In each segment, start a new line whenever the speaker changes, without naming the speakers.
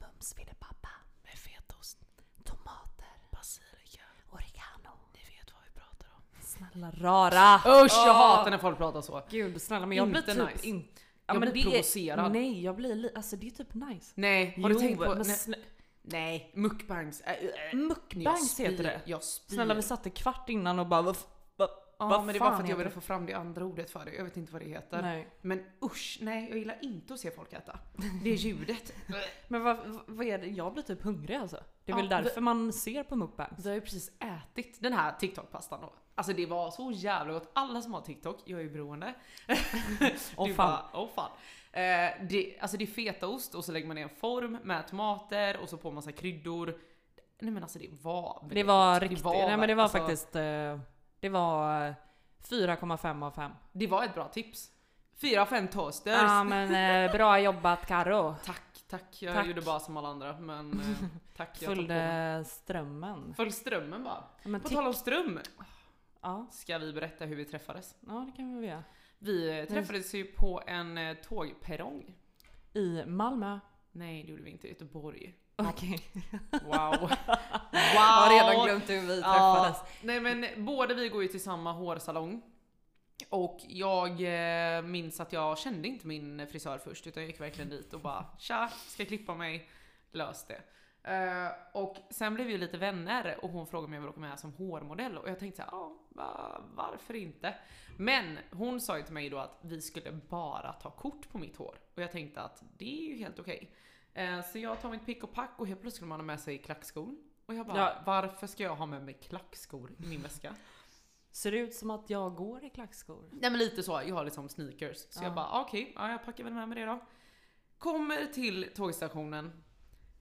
mums ville pappa. Med fetaost. Tomater. Basilika. Oregano. Ni vet vad vi pratar om.
Snälla rara!
Usch
Åh.
jag hatar när folk pratar så.
Gud snälla men jag
Inte
blir typ
nice.
in,
Jag
men
blir
det är-
provocerad.
Nej jag blir li- alltså det är typ nice.
Nej, har du tänkt på...
men
nej,
snä-
nej, mukbangs. Äh, äh,
Mukbangs
jag
heter
spyr,
det.
Jag spyr.
Snälla vi satte kvart innan och bara vad f- vad
Ja
vad
men det var
fan
för att jag
heter
ville få fram det andra ordet för det. Jag vet inte vad det heter.
Nej.
Men usch, nej jag gillar inte att se folk äta. Det är ljudet.
Men vad, vad- vad är det? Jag blir typ hungrig alltså. Det är väl
Ja,
därför man ser på mukbangs.
Vi har ju precis ätit den här TikTok-pastan då. Alltså det var så jävla gott. Alla som har TikTok, jag är ju beroende.
Åh,
Du
fan.
bara, åh, fan. Eh, det, alltså det är fetaost och så lägger man i en form med tomater och så på massa kryddor. Nej men alltså det var väldigt
Det var
gott.
riktigt, nej men det var
alltså,
faktiskt, eh, det var eh, 4,5 av 5.
Det var ett bra tips. Fyra av fem toasters.
Ja men eh, bra jobbat Karo.
Tack, tack. Jag
Tack.
gjorde bara som alla andra men eh, tack. Jag tar på mig.
Följde strömmen.
Följ strömmen bara.
Ja, Men
På
eh, tick-
tal om ström
ja,
ska vi berätta hur vi träffades.
ja det kan vi väl göra.
Vi
Mm.
eh, träffades ju på en eh, tågperrong.
I Malmö.
Nej, det gjorde vi inte. Göteborg.
Okej.
Wow. wow.
Jag har redan glömt hur vi träffades.
Ja, nej men båda vi går ju till samma hårsalong. Och jag eh, minns att jag kände inte min frisör först utan jag gick verkligen dit och bara tja, ska klippa mig, lös det. Eh, och sen blev vi lite vänner och hon frågade mig om jag ville åka med som hårmodell och jag tänkte såhär, ja va, varför inte? Men hon sa ju till mig då att vi skulle bara ta kort på mitt hår och jag tänkte att det är ju helt okej. Eh, så jag tar mitt pick och pack och helt plötsligt skulle man ha med sig klackskor. Och jag bara,
Ja.
varför ska jag ha med mig klackskor i min väska?
Ser det ut som att jag går i klackskor?
Nej men lite så, jag har liksom sneakers. Så
Ja.
jag bara ah, okej, ja, jag packar väl med mig det då. Kommer till tågstationen,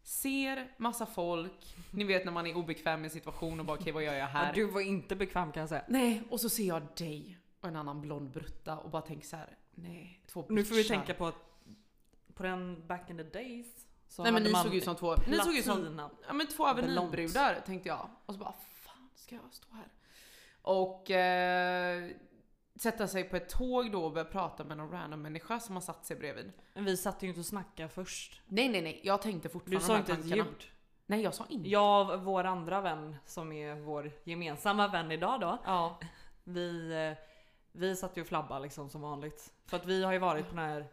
ser massa folk, ni vet när man är obekväm i en situation och bara okej vad gör jag
Ja,
här?
du var inte bekväm kan jag säga.
Nej, och så ser jag dig och en annan blond brutta och bara tänker så här: nej, två
Nu får vi
bitchar.
tänka på att på den back in the days så
Nej men
hade
ni
man
såg ju som två, ni såg ju som
platina.
ja, men två avenybrudar tänkte jag. Och så bara, fan ska jag stå här? Och eh, sätta sig på ett tåg då och börja prata med någon random människa som har satt sig bredvid.
Men Vi satt ju inte och snackade först.
Nej nej nej, jag tänkte
Du
fortfarande de
sa
här
inte ett
tankarna.
ljud.
Nej jag sa inte.
Jag och vår andra vän som är vår gemensamma vän idag då.
Ja.
Vi, eh, vi satt ju och flabbade liksom som vanligt. För att vi har ju varit på den här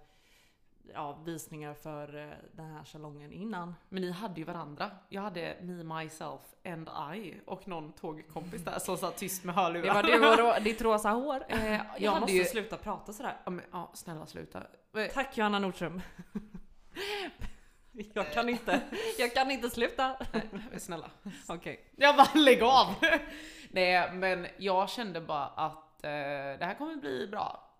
ja, visningar för eh, den här salongen innan.
Men ni hade ju varandra. Jag hade me, myself and I och någon tågkompis där som satt tyst med
Det var
hörlurar.
du och rå- ditt rosa hår.
Eh, jag
Jag
hade
måste
ju...
sluta prata sådär.
Ja, men, ja, snälla sluta. Eh,
Tack Johanna Nordström. Jag kan inte, jag kan inte sluta.
eh, Snälla.
Okej.
Jag bara lägg av! Nej men jag kände bara att eh, det här kommer bli bra.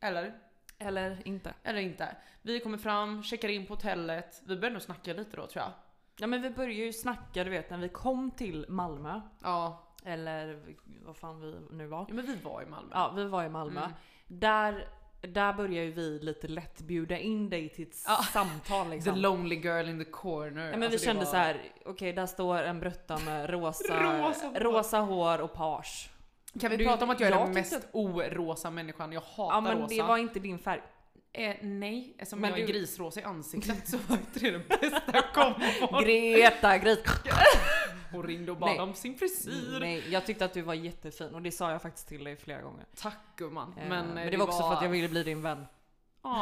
Eller?
Eller inte.
Eller inte. Vi kommer fram, checkar in på hotellet. Vi börjar nog snacka lite då tror jag.
Ja men vi började ju snacka du vet när vi kom till Malmö.
Ja.
Eller vad fan vi nu var.
ja men vi var i Malmö.
Ja vi var i Malmö.
Mm.
Där, där börjar ju vi lite lätt bjuda in dig till ett
Ja.
samtal
The
liksom.
lonely girl in the corner.
Ja, men vi
Alltså, det
kände
var-
så här, okej där står en brutta med rosa,
Rosa hår.
rosa, rosa hår och page.
Kan vi
Du,
prata om att jag är
jag
den
tyckte
mest orosa människan? Jag hatar
Ja men
rosa.
det var alltså, inte din färg.
eh, nej, eftersom
Men
jag är
du-
grisrosa i ansiktet så var inte det den bästa kombon.
Greta Grit.
Hon ringde och bad
Nej.
om sin frisyr.
Nej, jag tyckte att du var jättefin och det sa jag faktiskt till dig flera gånger.
Tack gumman.
Eh,
Men, eh,
men det, var också för att jag ville bli din vän.
Aa,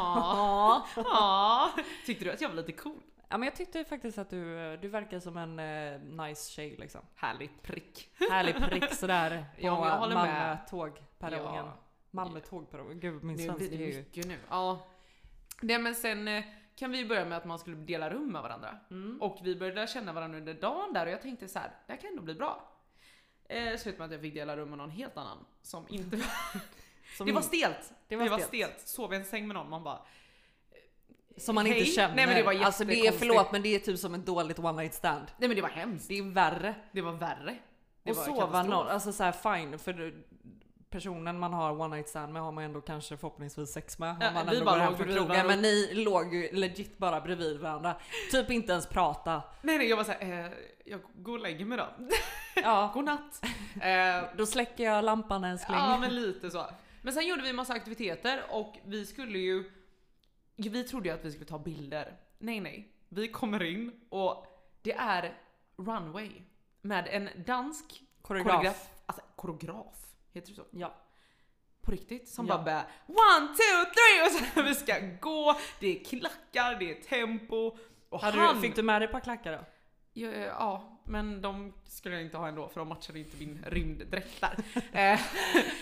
Ja.
aa. Tyckte du att jag var lite cool?
ja men jag tyckte faktiskt att du, eh, du verkar som en eh, nice tjej liksom.
Härlig prick.
Härlig prick sådär på
Ja, men jag håller med.
Malmö tågperrongen.
Ja.
Malmö tågperrong. Gud min
Nu blir
svenska
det
är ju...
mycket nu. Ja. Nej men sen eh, kan vi börja med att man skulle dela rum med varandra.
Mm.
Och vi började lära känna varandra under dagen där och jag tänkte så här, det här kan ändå bli bra. Eh, slut med att jag fick dela rum med någon helt annan som inte
Som,
Det var stelt!
det
Det var stelt. Sov i en säng med någon, man bara
Som man inte
Hej.
känner.
Nej, men det var
alltså det är,
jättekonstigt.
förlåt men det är typ som ett dåligt one night stand.
Nej men det var hemskt.
Det är värre.
Det var värre. Det
och
var
sova
katastrof.
någon, alltså såhär fine för du- personen man har one night stand med har man ändå kanske förhoppningsvis sex med.
Ja,
Om man
vi
ändå
bara
går hem
låg
från
bredvid
krogen.
varandra.
Men ni låg ju legit bara bredvid varandra. Typ inte ens prata.
Nej nej jag var såhär, eh, jag går och lägger mig då.
Ja,
Godnatt! Eh,
då släcker jag lampan älskling.
Ja men lite så. Men sen gjorde vi massa aktiviteter och vi skulle ju... Vi trodde ju att vi skulle ta bilder. Nej nej. Vi kommer in och det är runway med en dansk
Koreograf.
koreograf. Alltså koreograf, heter det så?
Ja.
På riktigt? Som
Ja.
bara bara one, two, three och så vi ska gå, det är klackar, det är tempo. Och
Hade
han...
du, fick du med dig ett par klackar då?
Ja, eh, ja, men de skulle jag inte ha ändå för de matchade inte min rymddräkt där. Eh,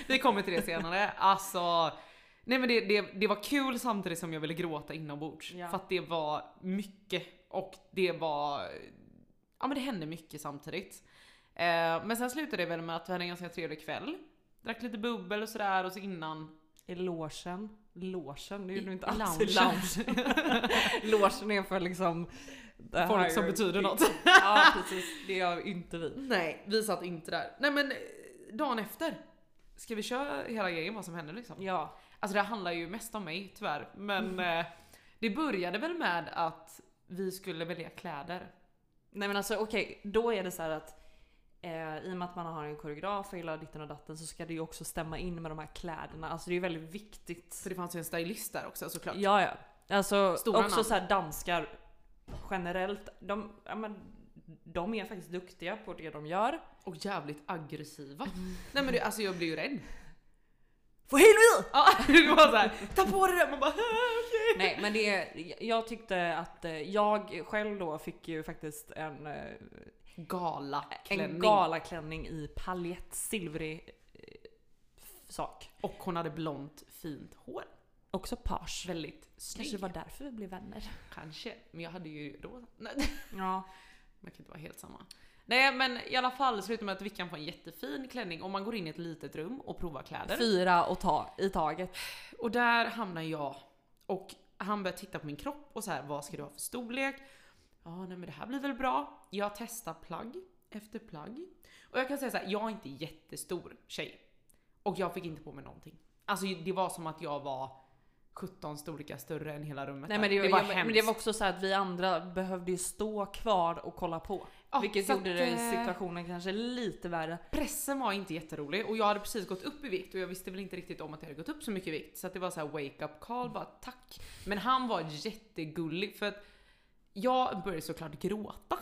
Vi kommer till det senare. Alltså, nej men det, det, det var kul samtidigt som jag ville gråta inombords.
Ja.
För att det var mycket och det var, ja men det hände mycket samtidigt. Eh, Men sen slutade det väl med att vi hade en ganska trevlig kväll. Drack lite bubbel och sådär och så innan.
I logen. Logen, det gjorde
I-
du inte
i
alls i
loungen.
lounge. logen är för liksom... the
Folk som
higher-
betyder något.
ja precis, det gör inte vi.
Nej, vi satt inte där. Nej men eh, dagen efter. Ska vi köra hela grejen vad som hände liksom?
Ja. Mm.
Alltså det här handlar ju mest om mig tyvärr. Men eh, det började väl med att vi skulle välja kläder.
Nej men alltså okej, då är det så här att eh, i och med att man har en koreograf och hela ditten och datten så ska det ju också stämma in med de här kläderna. Alltså det är ju väldigt viktigt.
Så det fanns ju en stylist där också såklart.
Ja ja. Alltså
Stora
också
namn.
så här danskar generellt. De, ja, men, de är faktiskt duktiga på det de gör.
Och jävligt aggressiva.
Mm.
Nej men det, alltså jag blev ju rädd.
Få helvete!
Ja, det var såhär, ta på dig det! Man bara "Ah, okej.
Nej men det, är- jag tyckte att eh, jag själv då fick ju faktiskt en, eh,
Galaklänning.
en galaklänning i paljett, silvrig eh, sak.
Och hon hade blont fint hår.
Också page.
Väldigt snygg.
Kanske det var därför vi blev vänner.
Kanske. Men jag hade ju rosa. Nej.
Ja.
Man kan inte vara helt samma. Nej men i alla fall slutar med att Vickan får en jättefin klänning och man går in i ett litet rum och provar kläder.
Fyra och ta, i taget.
Och där hamnar jag. Och han börjar titta på min kropp och så här, vad ska du ha för storlek? Ja, nej men det här blir väl bra. Jag testar plagg efter plagg. Och jag kan säga så här, jag är inte jättestor tjej. Och jag fick inte på mig någonting. Alltså det var som att jag var 17 storlekar större än hela rummet.
Nej,
där.
men det,
var
var men det var också så här att vi andra behövde ju stå kvar och kolla på.
Ja,
vilket
så
gjorde
att,
det
eh,
situationen kanske lite värre.
Pressen var inte jätterolig och jag hade precis gått upp i vikt och jag visste väl inte riktigt om att jag hade gått upp så mycket i vikt. Så att det var så här wake up call, bara tack. Men han var jättegullig för att jag började såklart gråta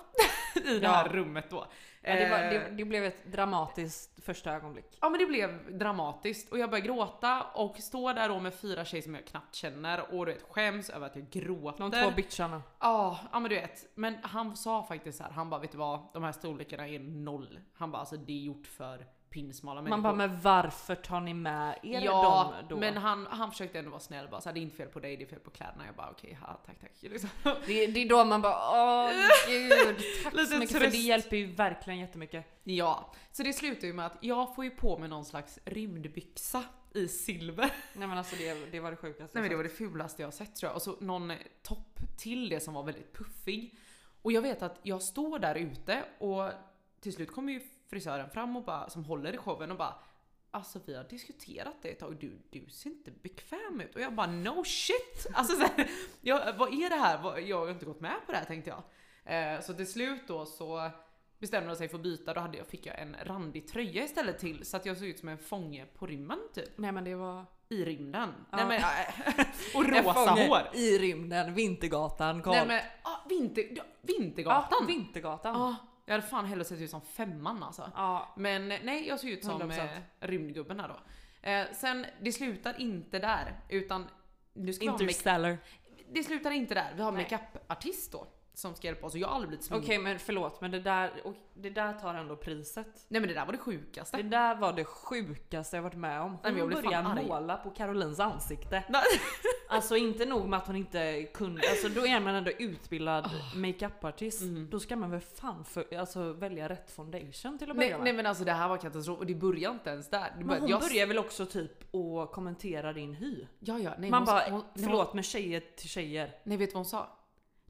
i det
Ja.
här rummet då.
Ja, det, var,
Eh,
det, det blev ett dramatiskt första ögonblick.
Ja men det blev dramatiskt och jag började gråta och står där då med fyra tjejer som jag knappt känner och du vet skäms över att jag gråter.
De två bitcharna.
Ja, ja men du vet. Men han sa faktiskt så här, han bara vet du vad? De här storlekarna är noll. Han bara alltså det är gjort för pinsmala människor.
Man bara, men varför tar ni med er
Ja,
dem då?
men han, han försökte ändå vara snäll bara så här, det är inte fel på dig, det är fel på kläderna. Jag bara okej, ha, tack tack. Liksom.
det, det är då man bara, åh gud, tack
Lite
så mycket för
tröst.
det hjälper ju verkligen jättemycket.
Ja, så det slutar ju med att jag får ju på mig någon slags rymdbyxa i silver.
Nej men alltså det, det var det sjukaste.
Nej men det var det fulaste jag har sett tror jag. Och så någon topp till det som var väldigt puffig. Och jag vet att jag står där ute och till slut kommer ju frisören fram och bara, som håller i showen och bara Alltså vi har diskuterat det ett tag och du, du ser inte bekväm ut. Och jag bara no shit! Alltså så här, jag, vad är det här? Vad- Jag har inte gått med på det här tänkte jag. Eh, så till slut då så bestämde de sig för att byta. Då hade jag, fick jag en randig tröja istället till så att jag såg ut som en fånge på rymmen typ.
Nej men det var...
I rymden.
Ja.
Nej, men,
äh,
och
En
rosa
fånge
hår.
I rymden, Vintergatan, Karl.
Nej men ah, vinter, ja, Vintergatan.
Ja, Vintergatan.
Ah, jag hade fan hellre sett ut som femman alltså.
Ja,
Men eh, nej, jag såg ut som
100%.
eh, rymdgubben här då. Eh, sen, det slutar inte där. Utan nu ska vi ha make-
Interstellar.
det slutar inte där. Vi har
Nej.
makeupartist då. Som ska hjälpa oss och jag har aldrig blivit
Okej
sminkad.
men förlåt men det där, och det där tar ändå priset.
Nej men det där var det sjukaste. Mm.
Det där var det sjukaste jag varit med om.
men
Hon
jag blir fan
började
arg.
måla på Carolins ansikte.
Nej.
Alltså inte nog med att hon inte kunde, alltså då är man ändå utbildad makeupartist.
Mm.
Då ska man väl fan för, alltså, välja rätt foundation till att börja
Nej,
med.
nej men alltså det här var katastrof och det började inte ens där. Det
men hon
jag,
börjar väl också typ att kommentera din hy?
Ja ja, nej,
Man
hon,
bara,
hon, nej, hon-
förlåt men tjejer till tjejer.
Nej vet du vad hon sa?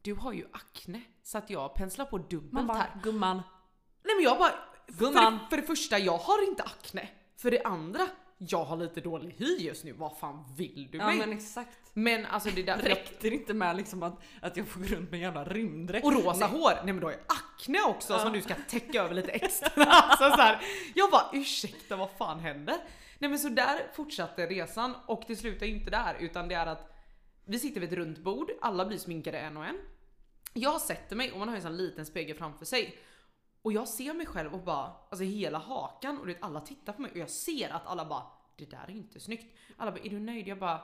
Du har ju akne så att jag penslar på dubbelt
Man bara,
här.
gumman.
Nej men jag bara, för
Gumman.
det, för det första jag har inte akne. För det andra, jag har lite dålig hy just nu. Vad fan vill du
Ja
mig?
men
Men,
exakt.
alltså det där...
Räckte det inte med liksom att, att jag får gå runt med en jävla rymddräkt?
Och rosa hår, nej men du har ju akne också
Ja.
som du ska täcka över lite extra. alltså så här. Jag bara ursäkta vad fan händer? Nej men så där fortsatte resan och det slutar ju inte där utan det är att vi sitter vid ett runt bord, alla blir sminkade en och en. Jag sätter mig och man har ju en sån liten spegel framför sig. Och jag ser mig själv och bara, alltså hela hakan och det alla tittar på mig och jag ser att alla bara, det där är inte snyggt. Alla bara, är du nöjd? Jag bara,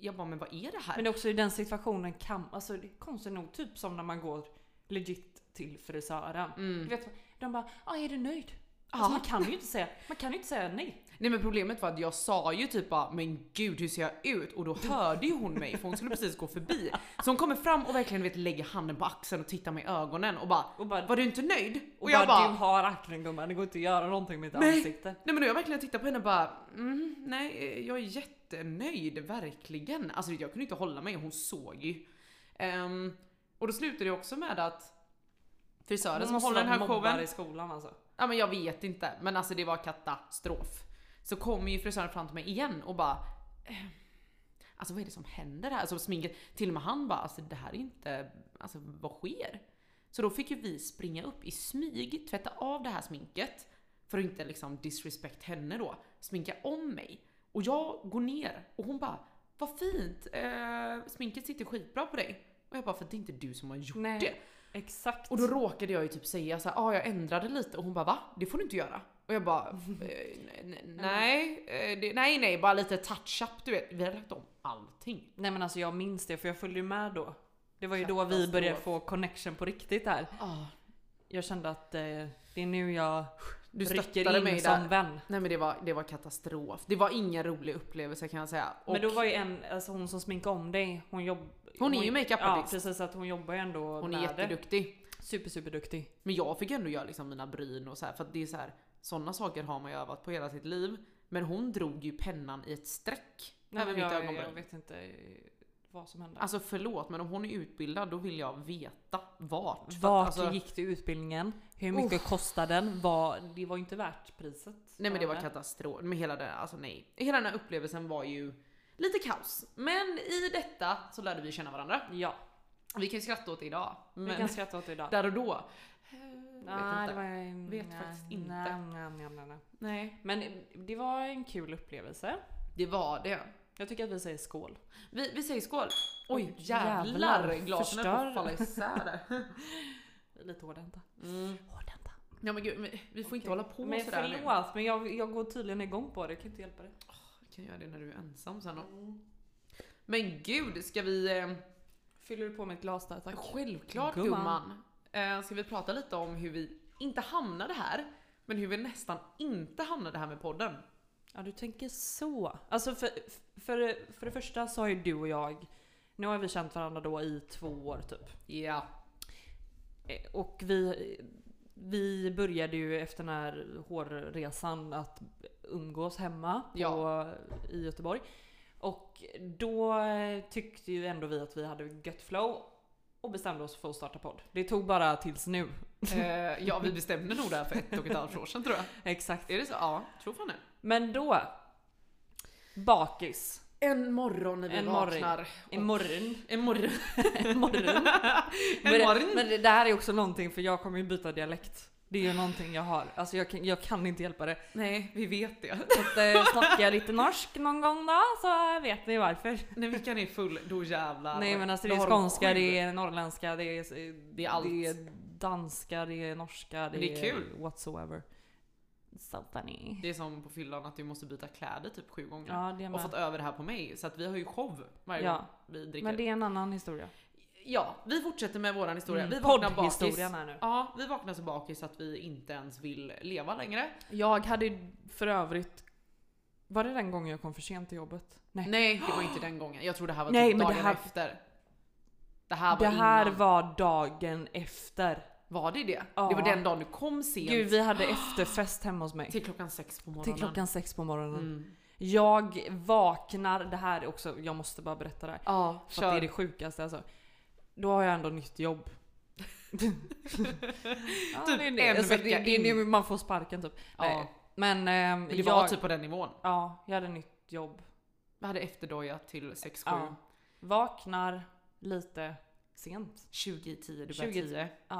jag bara, men vad är det här?
Men det är också i den situationen kan, alltså det är konstigt nog typ som när man går legit till frisören. Du
Mm.
vet, de bara ah, är du nöjd? Alltså,
Ja.
man kan ju inte säga, man kan ju inte säga nej.
Nej men problemet var att jag sa ju typ bara, men gud hur ser jag ut? Och då
Mm.
hörde ju hon mig för hon skulle precis gå förbi. Så hon kommer fram och verkligen vet, lägger handen på axeln och tittar mig i ögonen och bara,
Och bara,
var du inte nöjd?
och bara, du har akne gumman, det går inte att göra någonting med ditt
Nej.
ansikte.
Nej men då har jag verkligen tittat på henne och bara, mm, nej eh, jag är jättenöjd, verkligen. Alltså jag kunde inte hålla mig, hon såg ju. Ehm, och då slutade det också med att frisören som
måste
håller den
vara
här
mobbare
showen,
i skolan alltså.
ja men jag vet inte, men alltså det var katastrof. Så kommer ju frisören fram till mig igen och bara, eh, alltså vad är det som händer här? Alltså sminket, till och med han bara, alltså det här är inte, alltså vad sker? Så då fick ju vi springa upp i smyg, tvätta av det här sminket för att inte liksom disrespect henne då, sminka om mig. Och jag går ner och hon bara “Vad fint, eh, sminket sitter skitbra på dig”. Och jag bara “För det är inte du som har gjort
Nej.
det”.
Exakt.
Och då råkade jag ju typ säga så här, ah, jag ändrade lite och hon bara va? Det får du inte göra. Och jag bara, eh, nej, nej,
Mm.
nej, eh, det, nej, nej, bara lite touch-up du vet. Vi har lagt om allting.
Nej men alltså jag minns det för jag följde ju med då. Det var ju då vi började få connection på riktigt där. Jag kände att eh, det är nu jag
Du
rycker
stöttade
in
mig
som
där.
vän.
Nej men det var, det var katastrof. Det var ingen rolig upplevelse kan jag säga. Och
Men då var ju en, alltså hon som sminkade om dig, hon jobb...
Hon är ju
Ja
makeup-artist.
precis, att hon jobbar ju ändå
hon
med
är
det.
jätteduktig.
Super superduktig.
Men jag fick ändå göra liksom mina bryn och så här för att det är så här, sådana saker har man ju övat på hela sitt liv. Men hon drog ju pennan i ett streck över
men
mitt
jag,
ögonbryn.
jag vet inte eh, vad som hände.
Alltså förlåt men om hon är utbildad då vill jag veta vart. För
Vart
att, alltså,
gick du utbildningen? Hur mycket kostade den? Vad, det var ju inte värt priset.
Nej men det var
Eller?
katastrof. Men hela den, alltså nej. Hela den här upplevelsen var ju lite kaos. Men i detta så lärde vi känna varandra.
Ja,
Vi kan ju skratta åt det idag. Men
vi kan skratta åt det idag.
där och då. eh, vet
Nej,
inte.
det var,
Vet
nej,
faktiskt inte.
Nej, nej, nej, nej, nej.
Nej,
Men det var en kul upplevelse.
det var det.
Jag tycker att vi säger skål.
Vi, vi säger skål. Oj
Oj, jävlar,
jävlar, glasen höll på
förstör.
att falla isär där.
Vi är Lite hårdhänta.
Mm.
Hårdhänta.
Ja men gud, men vi får
Okej.
inte hålla på
Men
sådär nu.
förlåt, men jag, jag går tydligen igång på det. Jag kan inte hjälpa det.
Jag kan göra det när du är ensam sen då. Men gud, ska vi... Eh,
Fyller du på mitt glas där tack?
Självklart
Gumman.
gumman. Eh, ska vi prata lite om hur vi inte hamnade här, men hur vi nästan inte hamnade här med podden.
Ja du tänker så. Alltså för, för, för det första så har ju du och jag, nu har vi känt varandra då i två år typ.
Ja.
Eh, Och vi, vi började ju efter den här hårresan att umgås hemma på,
Ja.
i Göteborg. Och då eh, tyckte ju ändå vi att vi hade gött flow och bestämde oss för att starta podd. Det tog bara tills nu.
Eh, ja, vi bestämde nog det här för ett och ett halvt år sedan tror jag.
Exakt.
Är det så? Ja, tror fan det.
Men då, bakis.
En morgon när vi
En morgon.
vaknar.
Imorgon.
En morgon.
Imorgon.
en
Men,
morgon.
men det- det här är också någonting för jag kommer ju byta dialekt. Det är ju någonting jag har. Alltså jag kan, jag kan inte hjälpa det.
Nej, vi vet det.
Så att, eh, snackar jag lite norsk någon gång då så vet ni varför.
När Vickan är full, då jävlar.
Nej men alltså
Då
det är
har de
skånska,
sju.
det är norrländska, det är,
är allt.
det är danska, det är norska, det,
Men det är kul.
whatsoever. So funny.
Det är som på fyllan att du måste byta kläder typ sju gånger.
Ja det
och fått
med.
över det här på mig, så att vi har ju show varje gång
Ja,
vi dricker.
men det är en annan historia.
Ja, vi fortsätter med våran historia.
Mm,
Vi vaknar bakis.
Poddhistorien här nu.
Ja, vi vaknar så bakis att vi inte ens vill leva längre.
Jag hade ju för övrigt, var det den gången jag kom för sent till jobbet? Nej.
Nej, det var inte den gången. Jag tror det här var
Nej,
typ
men
dagen
det här-
efter. Det här var
Det här
innan.
var dagen efter.
Var det det?
Ja.
Det var den dagen du kom sent.
Gud, vi hade efterfest hemma hos mig.
Till klockan sex på morgonen.
Till klockan sex på morgonen.
Mm.
Jag vaknar, det här är också, jag måste bara berätta det här.
Ja,
För att det är det
kör.
sjukaste alltså. Då har jag ändå nytt jobb. ja,
Typ
det är
en
alltså, det,
vecka
det är
in.
nu man får sparken typ.
Ja,
Nej. Men, ehm,
men det
jag,
var typ på den nivån.
ja, jag hade nytt jobb.
Vi hade efterdojat till sex, sju.
Ja. Vaknar lite sent.
20 i 10, du
20.
börjar 10.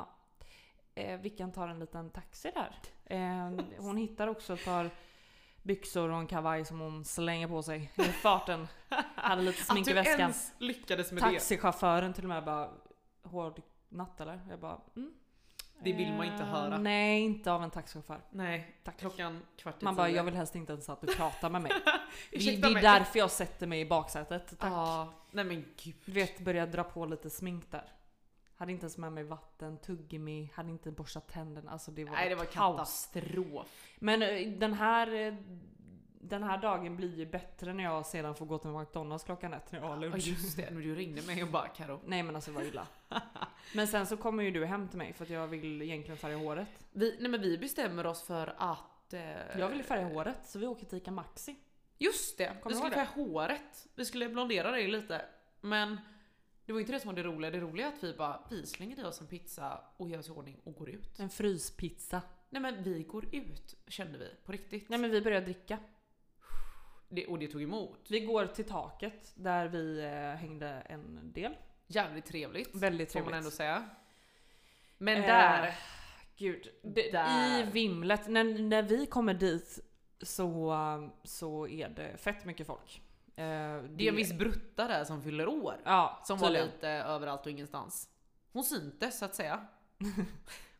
Eh, Vickan tar en liten taxi där. Eh, hon hittar också ett par byxor och en kavaj som hon slänger på sig i farten. Hade lite smink i
Att du
väskan.
ens lyckades med det.
Taxichauffören till och med bara hård natt eller? Jag bara, mm.
Det vill man inte
Eh,
höra. Typ
Nej, inte av en taxichaufför.
Nej, tack. klockan kvart i
Man bara,
tio.
jag vill helst inte ens att du pratar med mig. det, det
Ursäkta
är
mig.
därför jag sätter mig i baksätet. Tack.
Ja, nej men gud.
Du vet, började dra på lite smink där. Hade inte ens med mig vatten, tuggummi, hade inte borstat tänderna. Alltså det var,
nej det var
kaos.
katastrof.
Men eh, den här, eh, den här dagen blir ju bättre när jag sedan får gå till McDonalds klockan ett när jag har
Ja
lunch.
just det, när du ringde mig och bara Karo.
Nej men alltså det var illa. Men sen så kommer ju du hem till mig för att jag vill egentligen färga håret.
Vi, nej men vi bestämmer oss för att... Eh,
Jag vill färga håret så vi åker till Ica Maxi.
Just det,
du
vi
ihåg
skulle
det?
färga håret. Vi skulle blondera det lite. Men det var inte det som var det roliga. Det roliga är att vi bara, vi slänger i oss en pizza och gör oss i ordning och går ut.
En fryspizza.
Nej men vi går ut kände vi på riktigt.
Nej men vi börjar dricka.
det, och det tog emot.
Vi går till taket där vi eh, hängde en del.
Jävligt trevligt.
Väldigt
Får man
trevligt.
ändå säga. Men
Eh,
där.
Gud, det,
Där.
i vimlet. När, när vi kommer dit så, um, så är det fett mycket folk. Eh,
Det är en viss brutta där som fyller år.
Ja,
Som var
tydligen.
lite överallt och ingenstans. Hon syntes så att säga.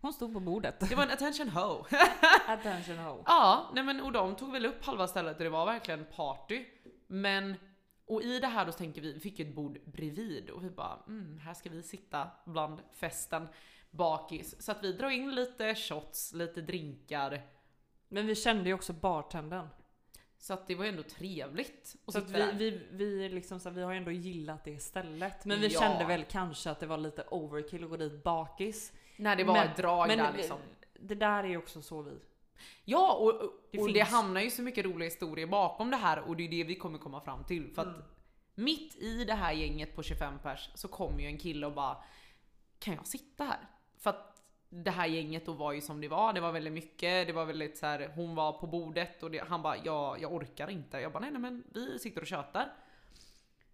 Hon stod på bordet.
Det var en attention ho.
Attention ho.
ja, nej men och de tog väl upp halva stället och det var verkligen party. Men, och i det här då så tänker vi, vi fick ju ett bord bredvid och vi bara, mm, här ska vi sitta bland festen bakis. Så att vi drar in lite shots, lite drinkar.
Men vi kände ju också bartendern.
Så att det var ju ändå trevligt. att
Så att
sitta
vi,
där.
vi, vi, är liksom så här, vi har ju ändå gillat det stället. Men vi
Ja.
kände väl kanske att det var lite overkill att gå dit bakis.
När det var
Men-
ett drag
men
där
vi-
liksom.
Det där är ju också så vi.
Ja, och, och,
Det
det, och det
finns.
hamnar ju så mycket roliga historier bakom det här och det är det vi kommer komma fram till. För att
Mm.
mitt i det här gänget på 25 pers så kom ju en kille och bara Kan jag sitta här? För att det här gänget då var ju som det var, det var väldigt mycket, det var väldigt så här, hon var på bordet och det, han bara ja, jag orkar inte. Jag bara nej, nej men vi sitter och tjötar.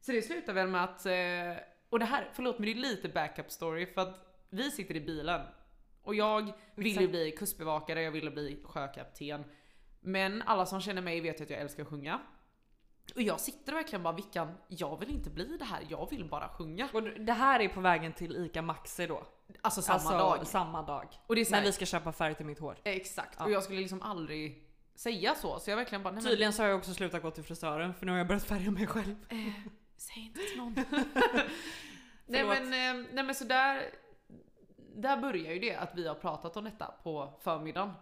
Så det slutar väl med att, eh, och det här, förlåt men det är lite backup story för att vi sitter i bilen och jag ville
Exakt.
ju bli kustbevakare, jag ville bli sjökapten. Men alla som känner mig vet ju att jag älskar att sjunga. Och jag sitter verkligen bara Vickan, jag vill inte bli det här, jag vill bara sjunga.
Och det här är på vägen till Ica Maxi då.
Alltså samma
alltså,
dag.
Samma dag.
Och det är så
När
här, eh,
vi ska köpa färg till mitt hår.
Exakt,
Ja. Typ.
och jag skulle liksom aldrig säga så. Så jag verkligen bara, nej men
Tydligen så har jag också slutat gå till frisören för nu har jag börjat färga mig själv.
Säg inte till någon. nej,
Förlåt.
men, eh, nej men så där, där börjar ju det att vi har pratat om detta på förmiddagen.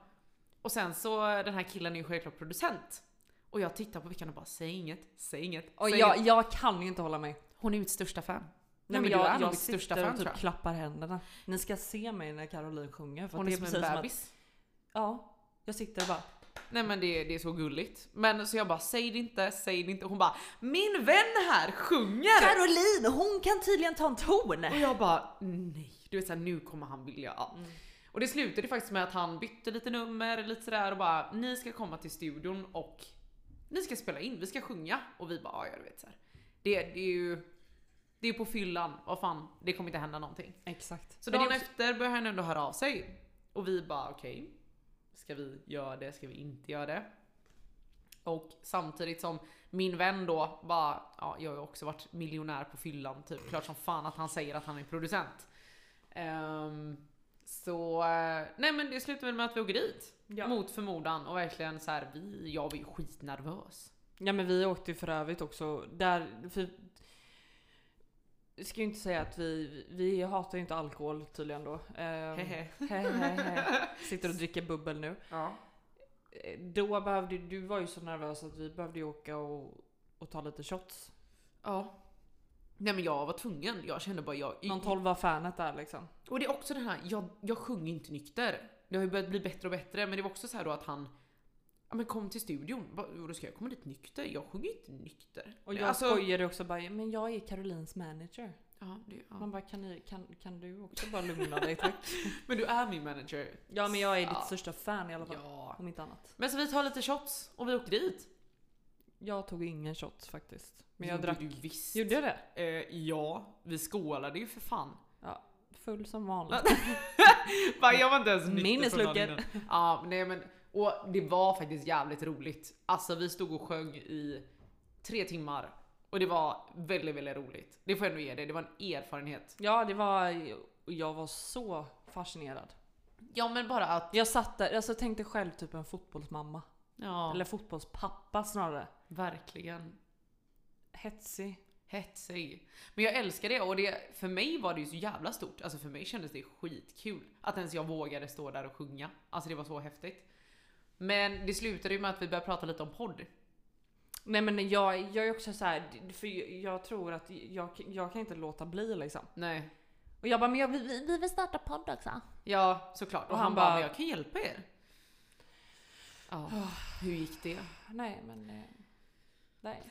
Och sen så den här killen är ju självklart producent. Och jag tittar på Vickan och bara säg inget, säg inget.
Och
säg
jag,
inget.
jag kan ju inte hålla mig.
Hon är mitt största fan.
Nej,
men
men
du
jag,
är nog
jag
mitt
sitter
största
och
fan,
typ
tror jag.
klappar händerna. Ni ska se mig när Caroline sjunger. För
Hon
att
är,
det är
som
precis
en
som att,
bebis.
Ja, jag sitter och bara
Nej men det, det är så gulligt. Men så jag bara säg det inte, säg det inte. Hon bara min vän här sjunger!
Caroline hon kan tydligen ta en ton!
Och jag bara nej, du vet såhär nu kommer han vilja. Ja.
Mm.
Och det slutade faktiskt med att han bytte lite nummer, lite sådär och bara ni ska komma till studion och ni ska spela in, vi ska sjunga. Och vi bara "Ja, ja du vet såhär. Det, det är ju det är på fyllan, vad fan det kommer inte hända någonting.
Exakt.
Så
Men det
dagen
är också-
efter börjar han ändå höra av sig. Och vi bara okej, ska vi göra det? Ska vi inte göra det? Och samtidigt som min vän då bara, ja jag har ju också varit miljonär på fyllan typ. Klart som fan att han säger att han är producent. Ehm, så, eh, nej men det slutar väl med att vi åker dit.
Ja.
Mot förmodan och verkligen så här, vi, jag var ju skitnervös.
Ja men vi åkte ju för övrigt också där, för jag ska ju inte säga att vi, vi hatar ju inte alkohol tydligen då. Ehm,
Hehe.
hehehe. Sitter och dricker bubbel nu.
ja.
Eh, Då behövde, du var ju så nervös att vi behövde ju åka och, och ta lite shots.
ja. Nej men jag var tvungen, jag kände bara jag...
Någon tolva fanet där liksom.
Och det är också den här, jag, jag sjöng inte nykter. Det har ju börjat bli bättre och bättre, men det var också så här då att han ja, men kom till studion. Bara, "Jo, Då ska jag komma dit nykter? Jag sjunger inte nykter.
Och jag
Alltså-
skojade också bara, men jag är Carolines manager.
Ja, det, ja.
Man bara, kan, ni, kan, kan du också bara lugna dig tack?
Men du är min manager.
ja men jag är ditt
Ja.
största fan i alla fall.
Ja.
Om inte annat.
Men så vi tar lite shots och vi åker dit.
Jag tog ingen shot faktiskt. Men jag
Gjorde
drack.
Du visst.
Gjorde jag det?
Eh, ja, vi skålade ju för fan.
Full som vanligt.
Fan, jag var inte ens nykter
Minnesluckor.
från dagen innan. Ja, nej men och det var faktiskt jävligt roligt. Alltså vi stod och sjöng i tre timmar Och det var väldigt, väldigt roligt. Det får jag ändå ge dig, det var en erfarenhet.
Ja, det var... och Jag var så fascinerad.
Ja men bara att...
Jag satt där, alltså tänkte själv typ en fotbollsmamma.
Ja,
Eller fotbollspappa snarare.
verkligen.
Hetsig.
Hetsig. Men jag älskar det och det, för mig var det ju så jävla stort. Alltså för mig kändes det skitkul. Att ens jag vågade stå där och sjunga. Alltså det var så häftigt. Men det slutade ju med att vi började prata lite om podd.
Nej men jag, jag är också så här, för jag, jag tror att jag, jag kan inte låta bli liksom.
Nej.
Och jag bara, men jag, vi, vi- vi vill starta podd också.
Ja, såklart. Och,
Och
han,
han
bara,
bara-
men jag kan hjälpa er. Ja, hur gick det?
Nej men... eh, Nej.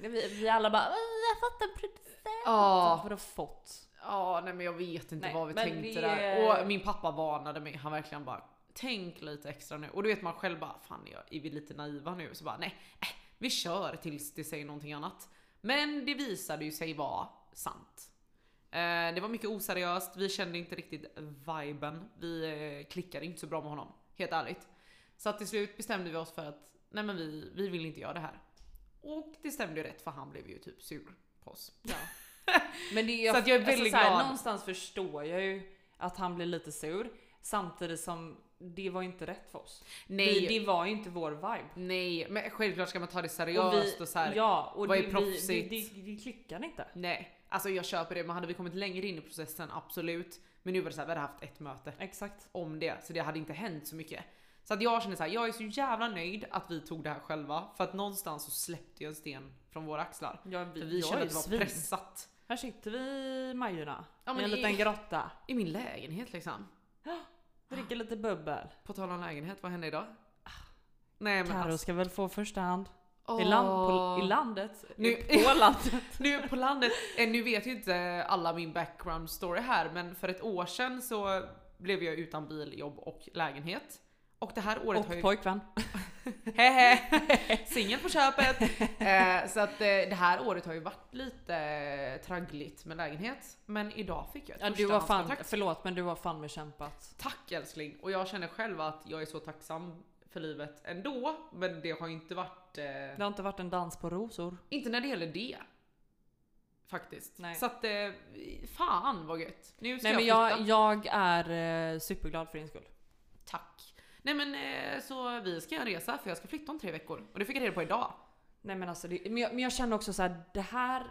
Vi, vi alla bara, "Åh, vi har fått en producent.
Ja.
Typ, Vadå fått?
Ja, nej men jag vet inte
Nej,
vad vi
men
tänkte
det-
där. Och min pappa varnade mig. Han verkligen bara tänk lite extra nu. Och du vet man själv bara fan jag är vi lite naiva nu? Så bara nej, eh, vi kör tills det säger någonting annat. Men det visade ju sig vara sant. Eh, Det var mycket oseriöst. Vi kände inte riktigt viben. Vi eh, klickade inte så bra med honom, helt ärligt. Så att till slut bestämde vi oss för att nej men vi, vi vill inte göra det här. Och det stämde ju rätt för han blev ju typ sur på oss.
Ja. Men det, är- alltså,
Så att jag är väldigt
så här,
glad.
Någonstans förstår jag ju att han blir lite sur. Samtidigt som det var ju inte rätt för oss. Vi, det var ju inte vår vibe.
Nej, men självklart ska man ta det seriöst och, så här.
ja, och
vad
det,
är
vi-
proffsigt?
Det, det, det klickade inte.
Nej, alltså jag köper det. Men hade vi kommit längre in i processen, absolut. Men nu var det så här, vi hade haft ett möte
Exakt.
om det, så det hade inte hänt så mycket. Så att jag känner så här, jag är så jävla nöjd att vi tog det här själva. För att någonstans så släppte ju en sten från våra axlar.
Ja,
För vi
jag
kände
är
att det var
svin.
pressat.
Här sitter vi i Majorna.
Ja, men
I en
i-
liten grotta.
I min lägenhet liksom.
Dricker lite bubbel.
På tal om lägenhet, vad hände idag? Ah. Nej men
Karo
alltså.
ska väl få första hand.
Åh.
I, land, på, I landet.
Nu-
På landet.
Nu på landet, eh, nu vet ju inte alla min background story här men för ett år sedan så blev jag utan bil, jobb och lägenhet. Och det här året har
Och
ju...
pojkvän.
Hehe. Singel på köpet! Eh, så att eh, det här året har ju varit lite eh, traggligt med lägenhet. Men idag fick jag ett
Ja, du har fan,
förstahandskontrakt.
förlåt men du har fan med kämpat.
Tack älskling! Och jag känner själv att jag är så tacksam för livet ändå. Men det har ju inte varit... Eh,
Det har inte varit en dans på rosor.
Inte när det gäller det. Faktiskt.
Nej.
Så att, eh, fan vad gött. Nu ska
Nej men
jag flytta.
jag, jag är eh, superglad för din skull.
Tack. Nej men eh, så vi ska göra en resa för jag ska flytta om tre veckor. Och det fick jag reda på idag.
Nej men alltså, det, men, jag, men jag känner också så här, det här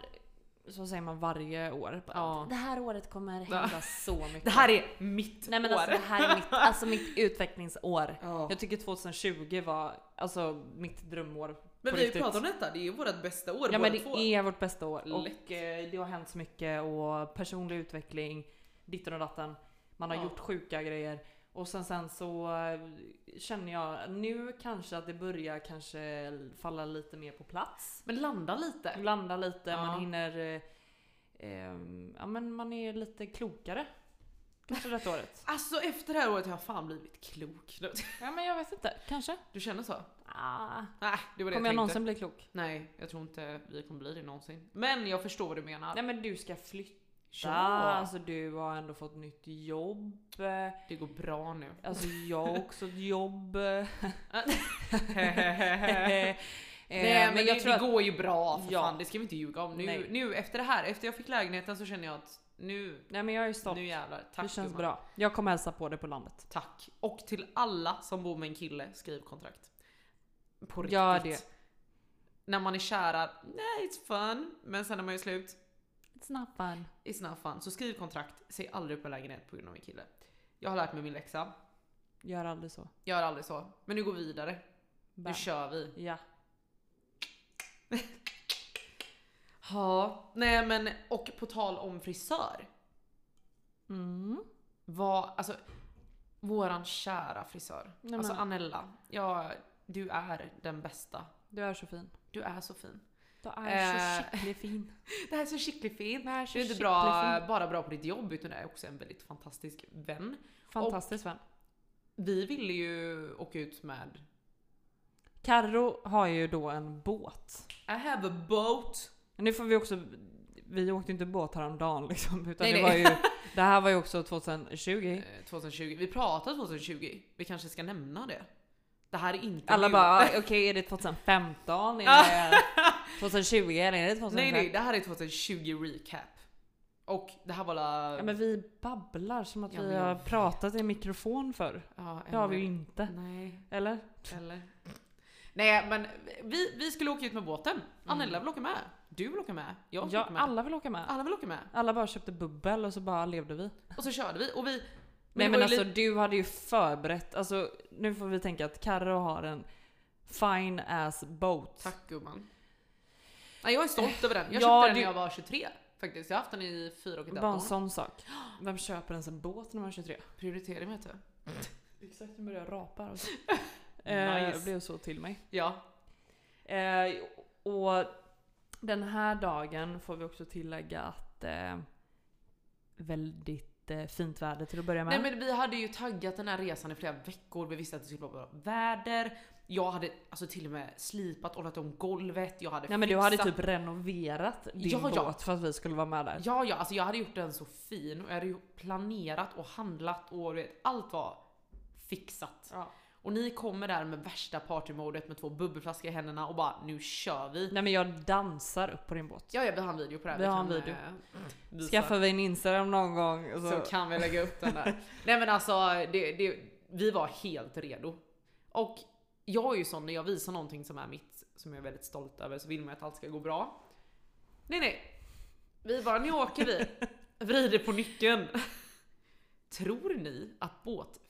så säger man varje år. Bara,
Ja.
Det här året kommer hända så mycket.
Det här är mitt
Nej men
år.
alltså det här är mitt, alltså mitt utvecklingsår.
Ja.
Jag tycker 2020 var alltså mitt drömår.
Men
på
vi har ju
riktigt.
pratat om detta, det är ju vårt bästa år
Ja
båda
men det
två.
är vårt bästa år
Lätt.
och eh, det har hänt så mycket och personlig utveckling, ditten och datten. Man har
Ja.
gjort sjuka grejer och sen, sen så eh, känner jag nu kanske att det börjar kanske falla lite mer på plats.
Men landa lite.
Landa lite,
Ja.
man hinner... eh, ehm, ja men man är lite klokare. Kanske detta året.
Alltså efter det här året har jag fan blivit klok.
Ja men jag vet inte, kanske.
Du känner så?
Ah,
Nej, det var
kommer
det
jag
jag tänkte.
någonsin bli klok?
Nej, jag tror inte vi kommer bli det någonsin. Men jag förstår vad du menar.
Nej men du ska flytta,
Ja.
alltså du har ändå fått nytt jobb. eh,
Det går bra nu.
Alltså jag har också ett jobb. Eh,
Nej men,
Eh, men
det,
jag tror
det
att,
går ju bra för
Ja.
fan, det ska vi inte ljuga om. Nu,
Nej.
nu efter det här, efter jag fick lägenheten så känner jag att nu,
nej men jag är stolt.
nu jävlar. Tack
det känns
gumman.
bra. Jag kommer hälsa på dig på landet.
Tack. Och till alla som bor med en kille, skriv kontrakt. På riktigt.
Gör
När man är kära, nej it's fun. Men sen när man är slut,
It's not fun.
it's not fun. Så skriv kontrakt, säg aldrig upp en lägenhet på grund av en kille. Jag har lärt mig min läxa,
Gör aldrig så.
gör aldrig så. Men nu går vi vidare.
Bam.
Nu kör vi.
Ja.
Ja, nej men och på tal om frisör.
Mm.
Vad, alltså våran kära frisör.
Nej,
alltså
men.
Anella, ja, du är den bästa.
Du är så fin.
Du är så fin.
Du är
Eh.
så skicklig fin.
Det här är så skicklig fin.
Du är
Du
så
är inte
skicklig
bra,
fin.
bara bra på ditt jobb utan du är också en väldigt fantastisk vän.
Fantastisk vän.
Vi ville ju åka ut med
Carro har ju då en båt.
I have a boat.
Nu får vi också... Vi åkte inte båt häromdagen liksom. Utan
Nej,
det,
nej.
var ju, det här var ju också 2020.
Eh, 2020. Vi pratade 2020. Vi kanske ska nämna det. Det här är inte
Alla "Ah,
nu.
bara okej är det 2015? Är det... 2020 eller är det 2005?
Nej nej, det här är 2020 recap. Och det här var la...
Ja, men vi babblar som att
Ja,
vi
men jag
har
vet.
pratat i mikrofon förr.
Ja,
Det har
Emma.
vi ju inte.
Nej,
Eller?
eller? Nej men vi, vi skulle åka ut med båten. Annella vill åka med. Du vill åka med. Jag
Mm.
vill
Ja,
åka med.
alla vill åka med.
alla vill åka med.
Alla bara köpte bubbel och så bara levde vi.
Och så körde vi och vi...
Nej
det
men
var ju
alltså du hade ju förberett, alltså nu får vi tänka att Carro har en fine ass boat.
Tack gumman. Nej, jag är stolt över den. Jag
Ja,
köpte den
det-
när jag var 23 faktiskt. Jag har haft den i fyra och ett
Bara en
halvt år.
sån sak. Vem köper ens en båt när man är 23?
Prioritering vet du.
Exakt, nu börjar jag rapa här också.
Nice.
eh, det blev så till mig.
Ja.
Eh, och den här dagen får vi också tillägga att eh, väldigt eh, fint väder till att börja med.
Nej men vi hade ju taggat den här resan i flera veckor. Vi visste att det skulle vara bra väder. Jag hade alltså till och med slipat, ordnat om golvet. Jag hade
Nej, men du hade
fixat-
typ renoverat din
Ja,
båt
ja.
för att vi skulle vara med där.
Ja, ja, alltså jag hade gjort den så fin och jag hade ju planerat och handlat och du vet, allt var fixat.
Ja.
Och ni kommer där med värsta partymodet med två bubbelflaskor i händerna och bara nu kör vi.
Nej men jag dansar upp på din båt.
Ja, ja, vi har en video på det här.
Vi har
kan,
en video. Mm.
eh, visa.
Skaffar vi en Instagram någon gång så...
så kan vi lägga upp den där. Nej men alltså, det, det, vi var helt redo. Och jag är ju sån när jag visar någonting som är mitt, som jag är väldigt stolt över, så vill man ju att allt ska gå bra. Nej nej. Vi bara, nu åker vi. Vrider på nyckeln. Tror ni att båt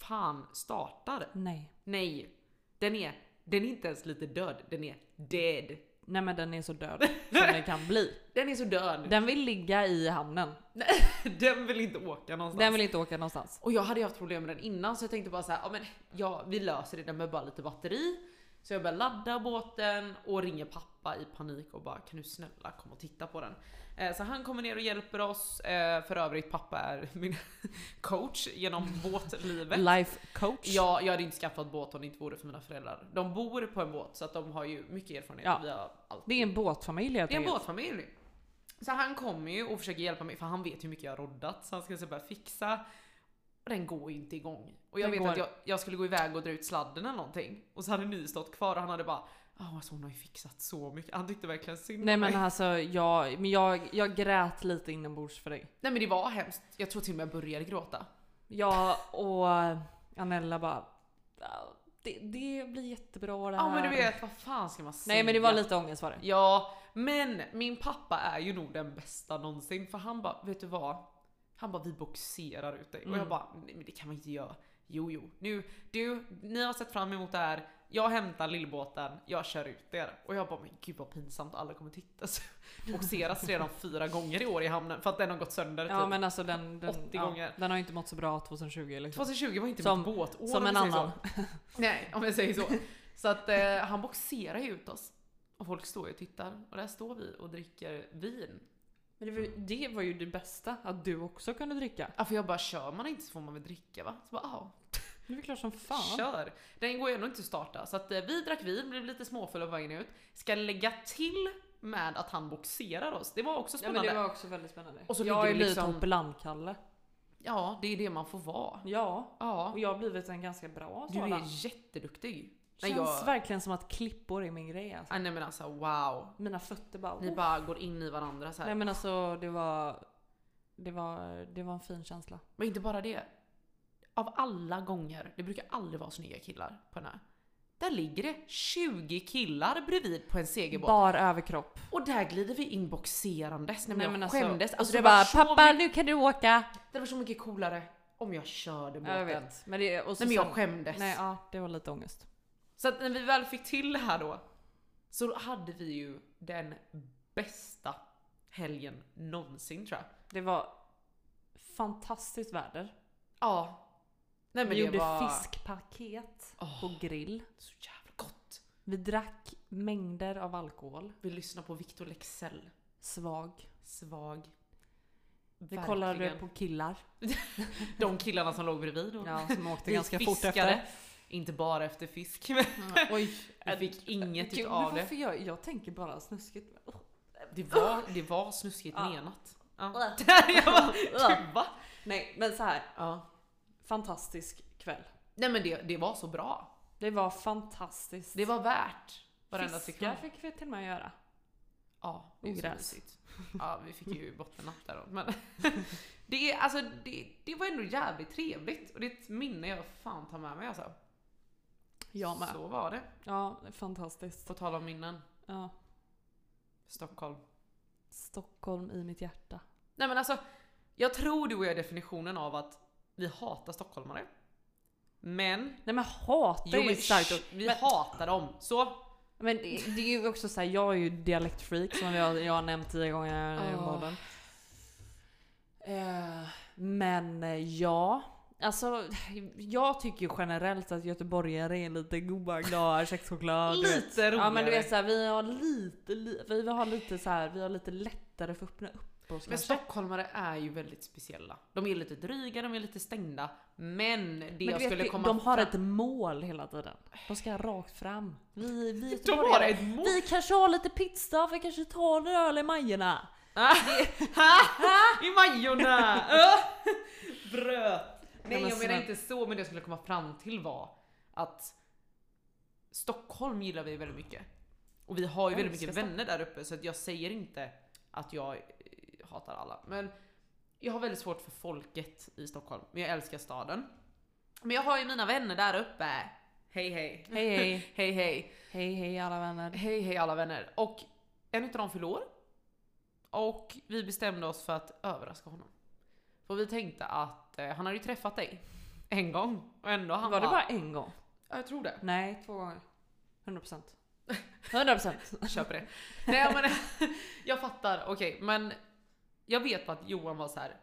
fan startar?
Nej.
Nej. Den är, den är inte ens lite död, den är dead.
Nej men den är så död som den kan bli.
Den är så död.
Den vill ligga i hamnen.
Den vill inte åka någonstans.
Den vill inte åka någonstans.
Och jag hade ju haft problem med den innan så jag tänkte bara så här, ja men ja, vi löser det med bara lite batteri. Så jag börjar ladda båten och ringer pappa i panik och bara kan du snälla komma och titta på den? Eh, så han kommer ner och hjälper oss. Eh, för övrigt pappa är min coach genom båtlivet.
Life coach.
Ja, jag hade inte skaffat båt om det inte vore för mina föräldrar. De bor på en båt så att de har ju mycket erfarenhet.
Ja.
Vi har allt.
Det är en båtfamilj helt
Det är en
enkelt.
båtfamilj. Så han kommer ju och försöker hjälpa mig för han vet hur mycket jag har roddat så han ska så börja fixa. Och den går ju inte igång. Och jag
Den
vet
går-
att jag, jag skulle gå iväg och dra ut sladden eller någonting. Och så hade ni stått kvar och han hade bara "Ah, alltså hon har ju fixat så mycket. Han tyckte verkligen synd om
Nej men
mig.
alltså jag, men jag, jag grät lite inombords för dig.
Nej men det var hemskt. Jag tror till och med jag började gråta.
Jag och eh, Anella bara... "Ja, Det, det blir jättebra det
Ja
här.
men du vet, vad fan ska man säga?
Nej men det var lite ångest var det.
Ja, men min pappa är ju nog den bästa någonsin för han bara, vet du vad? Han bara, vi boxerar ut dig. Och
Mm.
jag bara, nej men det kan man inte göra. Jo, jo. Nu, du, ni har sett fram emot det här. Jag hämtar lillbåten, jag kör ut er. Och jag bara, men gud vad pinsamt, alla kommer titta. Så Boxeras redan fyra gånger i år i hamnen för att den har gått sönder.
Ja
typ.
men alltså den, den,
80
ja,
gånger.
den har ju inte mått så bra 2020 liksom.
2020 typ. var inte
Som-
mitt båtår
Som
om
en
jag säger så.
annan.
Nej, om jag säger så. Så att eh, han boxerar ju ut oss. Och folk står ju och tittar. Och där står vi och dricker vin.
Men det, var, det var ju det bästa, att du också kunde dricka.
Ja för Alltså jag bara kör man inte så får man väl dricka va? Så bara ja,
Det var klart som fan.
kör. Den går ju ändå inte att starta. Så att eh, vi drack vin, blev lite småfulla på vägen ut. Ska lägga till med att han boxerar oss. Det var också
Ja,
spännande.
men
Ja,
det var också väldigt spännande.
Och så
jag
ligger
har ju
det
blivit
liksom-
hoppelannkalle.
det är det man får vara.
Ja,
Ja.
och jag har blivit en ganska bra
Du
sådan.
är jätteduktig. Nej,
Känns
jag-
verkligen som att klippor är min grej alltså.
Ah, nej men alltså wow.
Mina fötter bara...
Ni
oh.
bara går in i varandra så här.
Nej men alltså det var... Det var, det var en fin känsla.
Men inte bara det. Av alla gånger, det brukar aldrig vara snygga killar på den här. Där ligger det 20 killar bredvid på en segerbåt.
Bar överkropp.
Och där glider vi in boxerandes. Nej, men
Nej,
jag
men alltså-
skämdes.
Och
Alltså,
så
det,
bara
var så
“pappa
mycket,
nu kan du åka”.
det var så mycket coolare om jag körde båten.
Ja, jag vet. Men det, och så
Nej men jag
sen-
skämdes.
Nej ja, det var lite ångest.
Så att när vi väl fick till det här då. Så hade vi ju den bästa helgen någonsin tror jag.
Det var fantastiskt väder.
Ja. Nej men
Vi
det
gjorde
var
fiskpaket
Åh.
på grill.
så jävla gott.
Vi drack mängder av alkohol.
Vi lyssnade på Victor Lexell.
Svag.
Svag.
Vi kollade på killar.
de killarna som låg bredvid. Och
Ja, som åkte
vi
ganska fort
fiskade.
efter.
Inte bara efter fisk. Men
Mm. Oj.
vi fick inget
Gud, men
av det.
varför jag, jag tänker bara snuskigt.
Det var, det var snuskigt
Ja.
menat. Ja. jag bara, gud, va?
Nej men så här.
Ja.
fantastisk kväll.
Nej men det, det var så bra.
Det var fantastiskt.
Det var värt. Varenda
Fiskar
sekund.
fick vi till och med göra.
Ja, det är ju så
Ogräs.
mysigt. Ja, vi fick ju bottennapp där då. Men det, är, alltså, det, det var ändå jävligt trevligt och det är ett minne jag fan tar med mig alltså.
Jag med.
Så var det.
Ja, fantastiskt.
På tal om minnen.
Ja.
Stockholm.
Stockholm i mitt hjärta.
Nej men alltså, jag tror du och jag är definitionen av att vi hatar stockholmare. Men...
Nej men hatar
Jo,
är ju
men
ett starkt
shh,
ord.
vi
Men-
hatar dem. Så
Men det, det är ju också så här, jag är ju dialektfreak som jag, jag har nämnt tio gånger i
Ja.
podden. Eh, men eh, ja, alltså jag tycker ju generellt att göteborgare är lite goa, glada, kexchoklad. du vet.
lite roligare.
Ja men du vet såhär, vi har lite, li, vi har lite så här, vi har lite lättare för att öppna upp oss
Men
kanske.
stockholmare är ju väldigt speciella. De är lite dryga, de är lite stängda. Men det
Men
jag
du
skulle
vet,
komma
de har
fram-
ett mål hela tiden. De ska rakt fram. Vi, vi
De har
göteborgare,
ett mål!
vi kanske har lite pizza, vi kanske tar en öl i Majorna.
I Majorna! Bröt! Nej
men
jag menar
snälla.
inte så, men det jag skulle komma fram till var att Stockholm gillar vi väldigt mycket. Och vi har ju
Jag
väldigt
älskar
mycket vänner där uppe så att jag säger inte att jag eh, hatar alla. Men jag har väldigt svårt för folket i Stockholm, men jag älskar staden. Men jag har ju mina vänner där uppe. Hej hej.
Hej hej,
Hej hej.
hej hej alla vänner.
Hej hej alla vänner! Och en utav dem fyllde år. Och vi bestämde oss för att överraska honom. För vi tänkte att eh, han hade ju träffat dig en gång och ändå han
Var det bara en gång?
Ja, jag tror det.
Nej, två gånger. 100%. 100%.
Köper det. Nej men jag fattar, okej men jag vet bara att Johan var så här.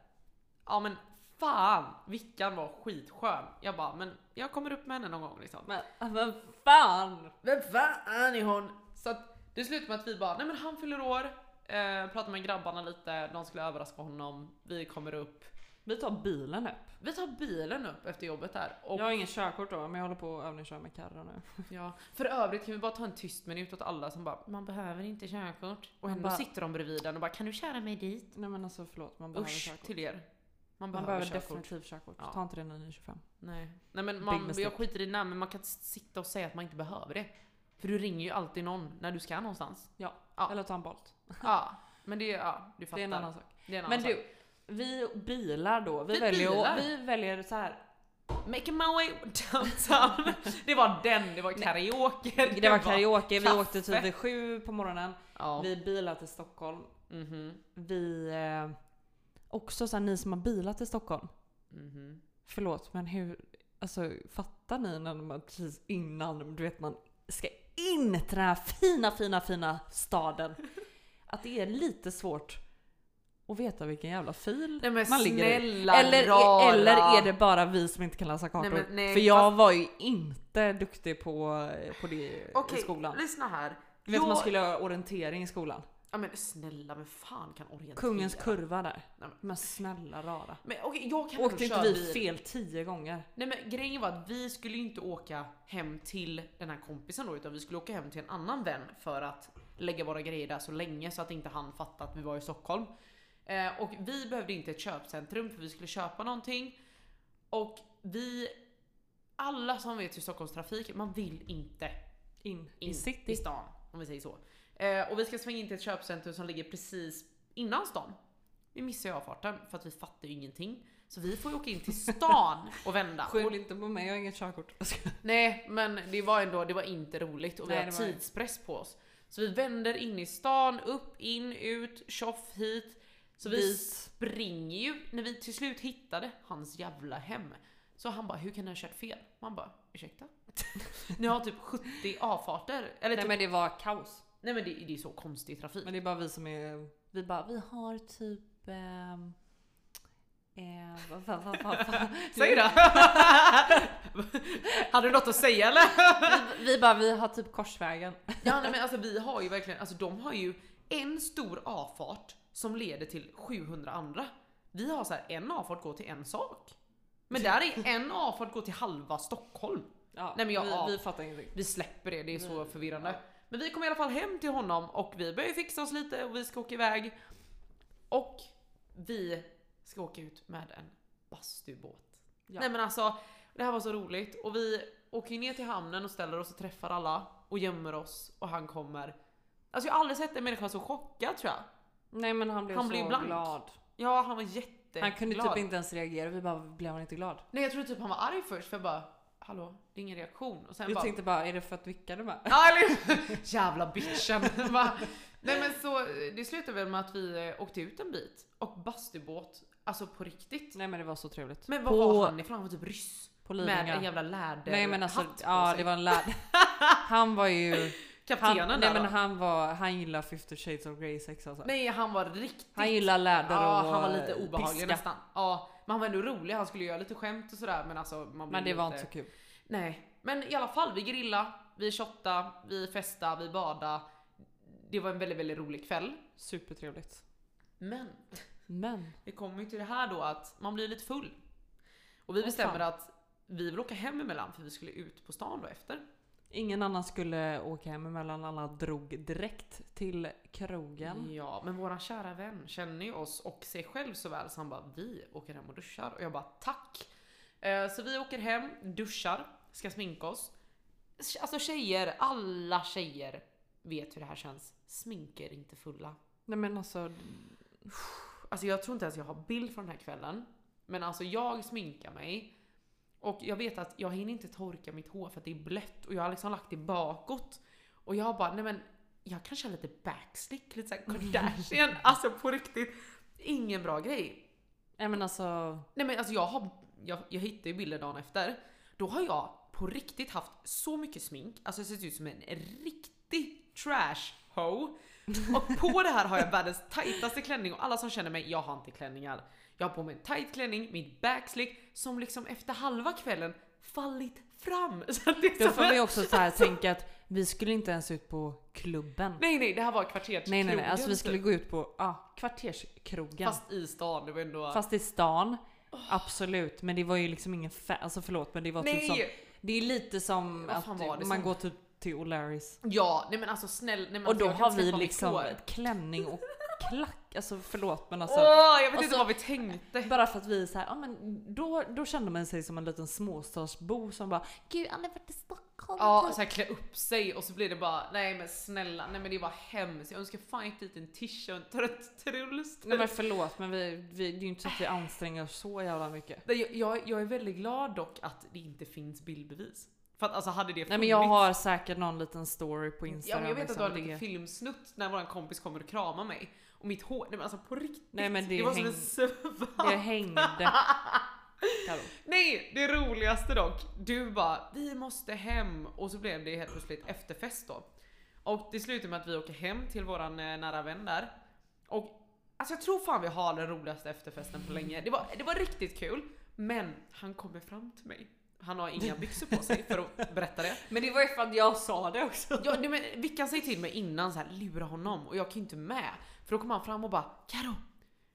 Ja men fan, Vickan var skitskön. Jag bara men jag kommer upp med henne någon gång liksom.
Men, men fan!
Vem fan är hon? Så att det slutade med att vi bara, nej men han fyller år, eh, pratar med grabbarna lite, de skulle överraska honom, vi kommer upp.
Vi tar bilen upp.
Vi tar bilen upp efter jobbet här. Och
Jag har ingen körkort då, men jag håller på att övningsköra med Carro nu.
ja, för övrigt kan vi bara ta en tyst minut åt alla som bara, man behöver inte körkort. Och
Man
ändå
bara-
sitter de bredvid den och bara, kan du köra mig dit?
Nej men alltså förlåt, man behöver
Usch
körkort.
till er. Man
Man
behöver,
behöver
körkort.
definitivt körkort.
Ja.
Ta inte det när ni är 25.
Nej. nej men
Big
man, jag
mistake.
skiter i namn men man kan inte sitta och säga att man inte behöver det. För du ringer ju alltid någon när du ska någonstans. Ja.
Eller ta en Bolt.
Ja, men det, ja, du fattar.
Det är en annan sak.
Det är en annan
Men
sak.
du, vi bilar då. Vi,
Vi
väljer,
bilar.
vi väljer så här.
Making my way downtown. Det var den, det var karaoke.
Det var karaoke, vi
kaffe.
åkte typ vid sju på morgonen.
Ja.
Vi bilade till Stockholm.
Mhm.
Vi... Eh, också så här, ni som har bilat till Stockholm.
Mhm.
Förlåt men hur... Alltså fattar ni när man precis innan, du vet man ska in till den här fina, fina, fina staden. Att det är lite svårt att veta vilken jävla fil
Nej men
man ligger i.
snälla
Eller,
rara.
är- eller är det bara vi som inte kan läsa kartor?
Nej, men nej,
För jag
fast-
var ju inte duktig på, på det
Okej,
i skolan.
lyssna här.
Du vet
jag-
man skulle ha orientering i skolan.
Ja men snälla, men fan kan orientera?
Kungens kurva där.
Nej, men-
Men snälla rara.
Men okej, jag kan
Åkte inte
ändå köra
vi
bil.
fel tio gånger?
Nej men grejen var att vi skulle ju inte åka hem till den här kompisen då utan vi skulle åka hem till en annan vän för att lägga våra grejer där så länge så att inte han fattade att vi var i Stockholm. Eh, och vi behövde inte ett köpcentrum för vi skulle köpa någonting. Och vi, alla som vet hur Stockholmstrafik, man vill inte
In,
in
i
i
city.
stan om vi säger så. Eh, och vi ska svänga in till ett köpcentrum som ligger precis innan stan. Vi missar ju avfarten för att vi fattar ju ingenting. Så vi får ju åka in till stan och vända. Och
Skyll inte på mig, jag har inget körkort.
Nej, men det var ändå, det var inte roligt och vi
Nej,
har
det var-
tidspress på oss. Så vi vänder in i stan, upp, in, ut, tjoff, hit. Så vi
Dit.
springer ju, när vi till slut hittade hans jävla hem. Så han bara, hur kan ni ha kört fel? Man bara, ursäkta? ni har typ 70 avfarter. Eller
Nej
typ,
men det var kaos.
nej men det, det är så konstig trafik.
Men det är bara vi som är... Vi bara, vi har typ... ehm, Eh, vad, vad, vad, vad, vad.
Säg det! Hade du något att säga eller?
Vi, vi bara, vi har typ korsvägen.
Ja nej, men alltså vi har ju verkligen, alltså de har ju en stor avfart som leder till 700 andra. Vi har så här en avfart går till en sak. Men där är en avfart går till halva Stockholm.
Ja,
Nej, men jag-
vi,
ja.
vi fattar ingenting.
Vi släpper det, det är så
Nej.
förvirrande. Men vi kom i alla fall hem till honom och vi börjar fixa oss lite och vi ska åka iväg. Och vi ska åka ut med en bastubåt.
Ja.
Nej men alltså, det här var så roligt och vi åker ju ner till hamnen och ställer oss och träffar alla. Och och gömmer oss och han kommer. Alltså jag har aldrig sett en människa så chockad tror jag.
Nej men han blev
Han
så
blev blank.
glad.
Ja, han var jätteglad.
Han kunde typ inte ens reagera. Vi bara, blev han inte glad?
Nej jag trodde typ han var arg först för jag bara, hallå, det är ingen reaktion. Och sen
Vi
bara,
tänkte bara, är det för att vicka du med?
Ja, eller hur? Jävla bitchen. Bara, Nej men så det slutade väl med att vi eh, åkte ut en bit och bastubåt, alltså på riktigt.
Nej men det var så trevligt.
Men var
På-
var han ifrån? Han var typ ryss.
På
Med en
Lidingö.
jävla läderhatt
Nej men alltså,
på
ja
sig.
det var en lärd. Han var ju... Han,
Kaptenen
nej
där
men
då?
han var, han gillar 50 shades of Grey sex alltså.
Nej han var riktigt...
han gillar läder
ja,
och
han var lite obehaglig
piska.
nästan. Ja, men han var ändå rolig, han skulle göra lite skämt och sådär men alltså man
Men det
blev
var
lite-
inte så kul.
Nej, men i alla fall vi grilla, vi shotta, vi festa, vi bada. Det var en väldigt, väldigt rolig kväll.
Supertrevligt.
Men
Men
Det kommer ju till det här då att man blir lite full. Och vi
Åh,
bestämmer
fan.
att vi vill åka hem emellan för vi skulle ut på stan då efter.
ingen annan skulle åka hem emellan. Alla drog direkt till krogen.
Ja, men våran kära vän känner ju oss och sig själv så väl så han bara vi åker hem och duschar och jag bara tack. Eh, Så vi åker hem, duschar, ska sminka oss. Alltså tjejer, alla tjejer vet hur det här känns. Sminker inte fulla.
Nej men alltså,
Alltså jag tror inte ens jag har bild från den här kvällen. Men alltså jag sminkar mig. Och jag vet att jag hinner inte torka mitt hår för att det är blött och jag har liksom lagt det bakåt. Och jag bara, nej men jag kan köra lite backslick, lite såhär Kardashian. alltså på riktigt. Ingen bra grej.
nej men alltså.
Nej men alltså jag har, jag, jag hittade ju bilder dagen efter. Då har jag på riktigt haft så mycket smink, alltså jag ser ut som en riktig trash hoe. Och på det här har jag världens tajtaste klänning och alla som känner mig, jag har inte klänningar. Jag har på mig en tight klänning, mitt backslick som liksom efter halva kvällen fallit fram. Så att det är
Då
som
får vi
en-
också så här tänka att vi skulle inte ens ut på klubben.
Nej nej, det här var
Nej
kvarterskrogen.
nej nej, alltså vi
typ.
skulle gå ut på ja, kvarterskrogen. Fast,
Fast i stan, det var ändå...
i stan. Absolut, men det var ju liksom ingen fa- alltså förlåt men det var typ som
nej!
Det är lite som
Vad
att
fan var det
man
som-
går typ till O'Larrys.
Ja, nej men alltså snäll... Nej, men
Och
alltså,
då
jag kan
har
inte
vi
släppa mitt
liksom
hår.
ett klänning och klack. Alltså förlåt men alltså.
Åh, jag vet
och
inte
så-
vad vi tänkte.
Bara för att vi är så här, ja men då, då kände man sig som en liten småstadsbo som bara Gud han har varit i Stockholm.
Ja,
typ."
så här klä upp sig och så blir det bara nej men snälla, nej men det var hemskt. Jag önskar fan inte hit en tisha och en trött Truls.
Nej men Äh. förlåt men vi, vi, det är ju inte så att vi anstränger oss så jävla mycket.
Nej, jag- jag, jag är väldigt glad dock att det inte finns bildbevis. För att alltså hade det funnits.
Nej men jag har säkert någon liten story på
Ja,
Instagram.
men jag vet att du har en
liksom, det-
liten filmsnutt när våran kompis kommer och kramar mig. Och mitt hår, nej men alltså på riktigt.
Nej, men det
var som
häng-
en svamp.
Det hängde. Karo.
Nej, det roligaste dock. Du bara, vi måste hem. Och så blev det helt plötsligt efterfest då. Och det slutade med att vi åker hem till våran eh, nära vän där. Och alltså jag tror fan vi har den roligaste efterfesten på länge. Det var, det var riktigt kul. Men han kommer fram till mig. Han har inga byxor på sig för att berätta det.
Men det var ju för att jag sa det också.
Ja, nej, men Vickan säger till mig innan så här, lura honom och jag kan ju inte med. För då kommer han fram och bara Karo.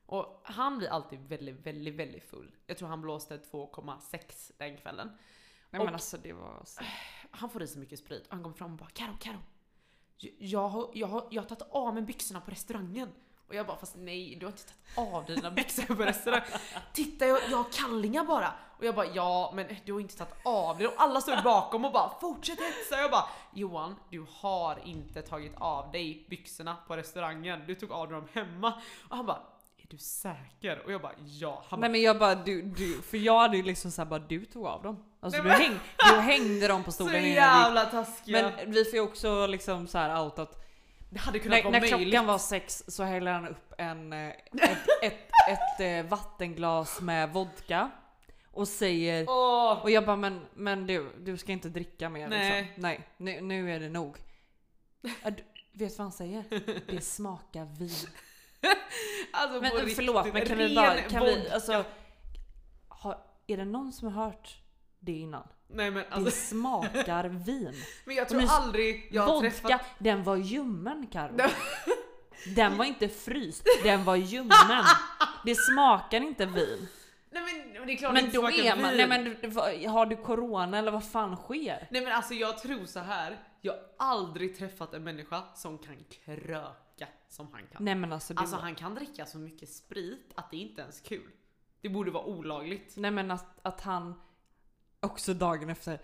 Och han blir alltid väldigt, väldigt, väldigt full. Jag tror han blåste 2,6 den kvällen.
Nej men
Och-
alltså det var så
Han får i sig mycket sprit och han kommer fram och bara Karo, Karo. j- Jag har, jag, har, jag har tagit av mig byxorna på restaurangen. Och jag bara fast nej du har inte tagit av dina byxor på restaurangen. Titta jag, jag har kallingar bara. Och jag bara ja men du har inte tagit av dig. Och alla står bakom och bara fortsätt hetsa. Jag bara Johan du har inte tagit av dig byxorna på restaurangen. Du tog av dig dem hemma. Och han bara är du säker? Och jag bara ja. Han bara,
Nej men jag bara du, du, för jag hade ju liksom såhär bara du tog av dem. Alltså
Nej,
du,
men-
häng, du hängde dem på
så
stolen innan du
jävla taskiga. Men,
Men vi får ju också liksom såhär out att
det hade kunnat
när,
vara
när
möjligt.
klockan var sex så hällde han upp en, eh, ett, ett, ett, eh, vattenglas med vodka och säger
Åh.
och jag bara men, men du, du ska inte dricka mer
Nej.
liksom. Nej, nu, nu är det nog. Ja, du, vet du vad han säger? Det smakar vin.
Alltså
Men
på riktigt,
förlåt, men kan vi
ren
bara, kan vi,
vodka.
alltså, har, är det någon som har hört det innan?
Nej men
Det
alltså,
smakar vin.
men jag tror
men-
aldrig jag har
Vodka,
träffat...
den var ljummen Karo.
Nej.
Den var inte fryst, den var ljummen. Det smakar inte vin.
Nej men men det är klart det
Men
inte
då
smakar
är man, nej
vin.
men du- vad- har du corona eller vad fan sker?
Nej men alltså jag tror så här. jag har aldrig träffat en människa som kan kröka som han kan.
Nej men alltså, det
Alltså
var,
han kan dricka så mycket sprit att det inte ens är kul. Det borde vara olagligt.
nej men att, att han också dagen efter,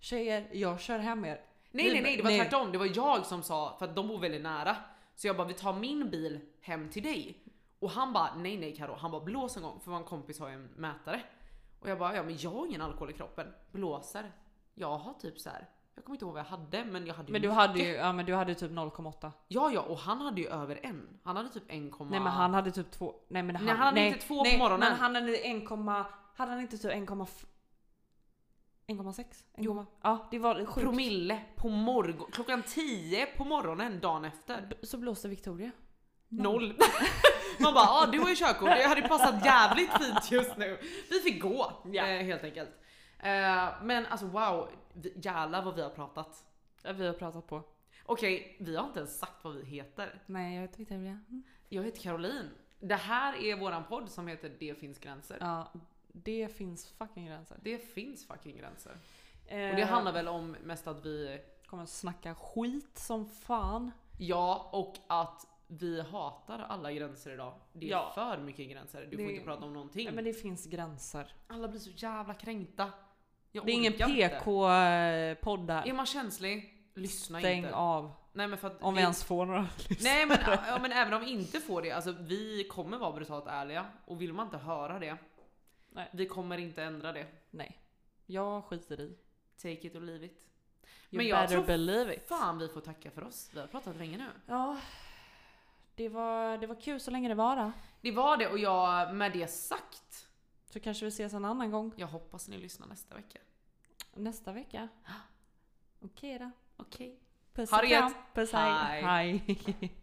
tjejer jag kör hem er.
Nej nej nej, det var
Nej.
tvärtom. Det var jag som sa, för att de bor väldigt nära. Så jag bara, vi tar min bil hem till dig. Och han bara, nej nej Karo, han bara blås en gång. För vår kompis har ju en mätare. Och jag bara, ja men jag har ingen alkohol i kroppen. Blåser. Jag har typ så här. jag kommer inte ihåg vad jag hade men jag hade ju
Men du
mycket.
hade ju, ja men du hade typ 0,8.
Ja ja, och han hade ju över en. Han hade typ 1,
Nej men han hade typ 2. Nej men han,
Nej, han hade inte två på
nej,
morgonen.
Men han hade 1, hade han inte typ 1, 1,6?
Jo.
1,0? Ja det var sjukt.
promille på morgon, klockan 10 på morgonen dagen efter.
B- Så blåste Victoria.
Noll. Man bara, ah, du har ju körkort, det hade ju passat jävligt fint just nu. Vi fick gå
Ja.
eh, helt enkelt. Eh, men alltså wow, vi- jävlar vad vi har pratat.
Ja, vi har pratat på.
Okej, vi har inte ens sagt vad vi heter.
Nej jag heter Victoria.
Jag heter Caroline. Det här är våran podd som heter Det finns gränser.
Ja det finns fucking gränser.
Det finns fucking gränser.
Eh,
Och det handlar väl om mest att vi,
Kommer snacka skit som fan.
ja och att vi hatar alla gränser idag. Det är
Ja.
för mycket gränser, du
Det-
får inte prata om någonting.
Nej men det finns gränser.
Alla blir så jävla kränkta. Jag
Det är ingen
orkar inte.
PK-podd där.
Är man känslig, lyssna
Stäng
inte.
av.
Nej men för att
Om
det-
vi ens får några
Nej men, ja, men även om vi inte får det, alltså vi kommer vara brutalt ärliga och vill man inte höra det,
Nej.
vi kommer inte ändra det.
Nej. Jag skiter i. You
Take it or leave it.
men
Men jag
better
tror
believe it.
Fan vi får tacka för oss, vi har pratat länge nu.
Ja. Det var, det var kul så länge det var.
Det var det och jag, med det sagt,
Så kanske vi ses en annan gång
jag hoppas ni lyssnar nästa vecka.
nästa vecka. Okej då.
Okej.
Puss
Ha
och
det
kram.
gött.
Puss hej.
Hej.
hej.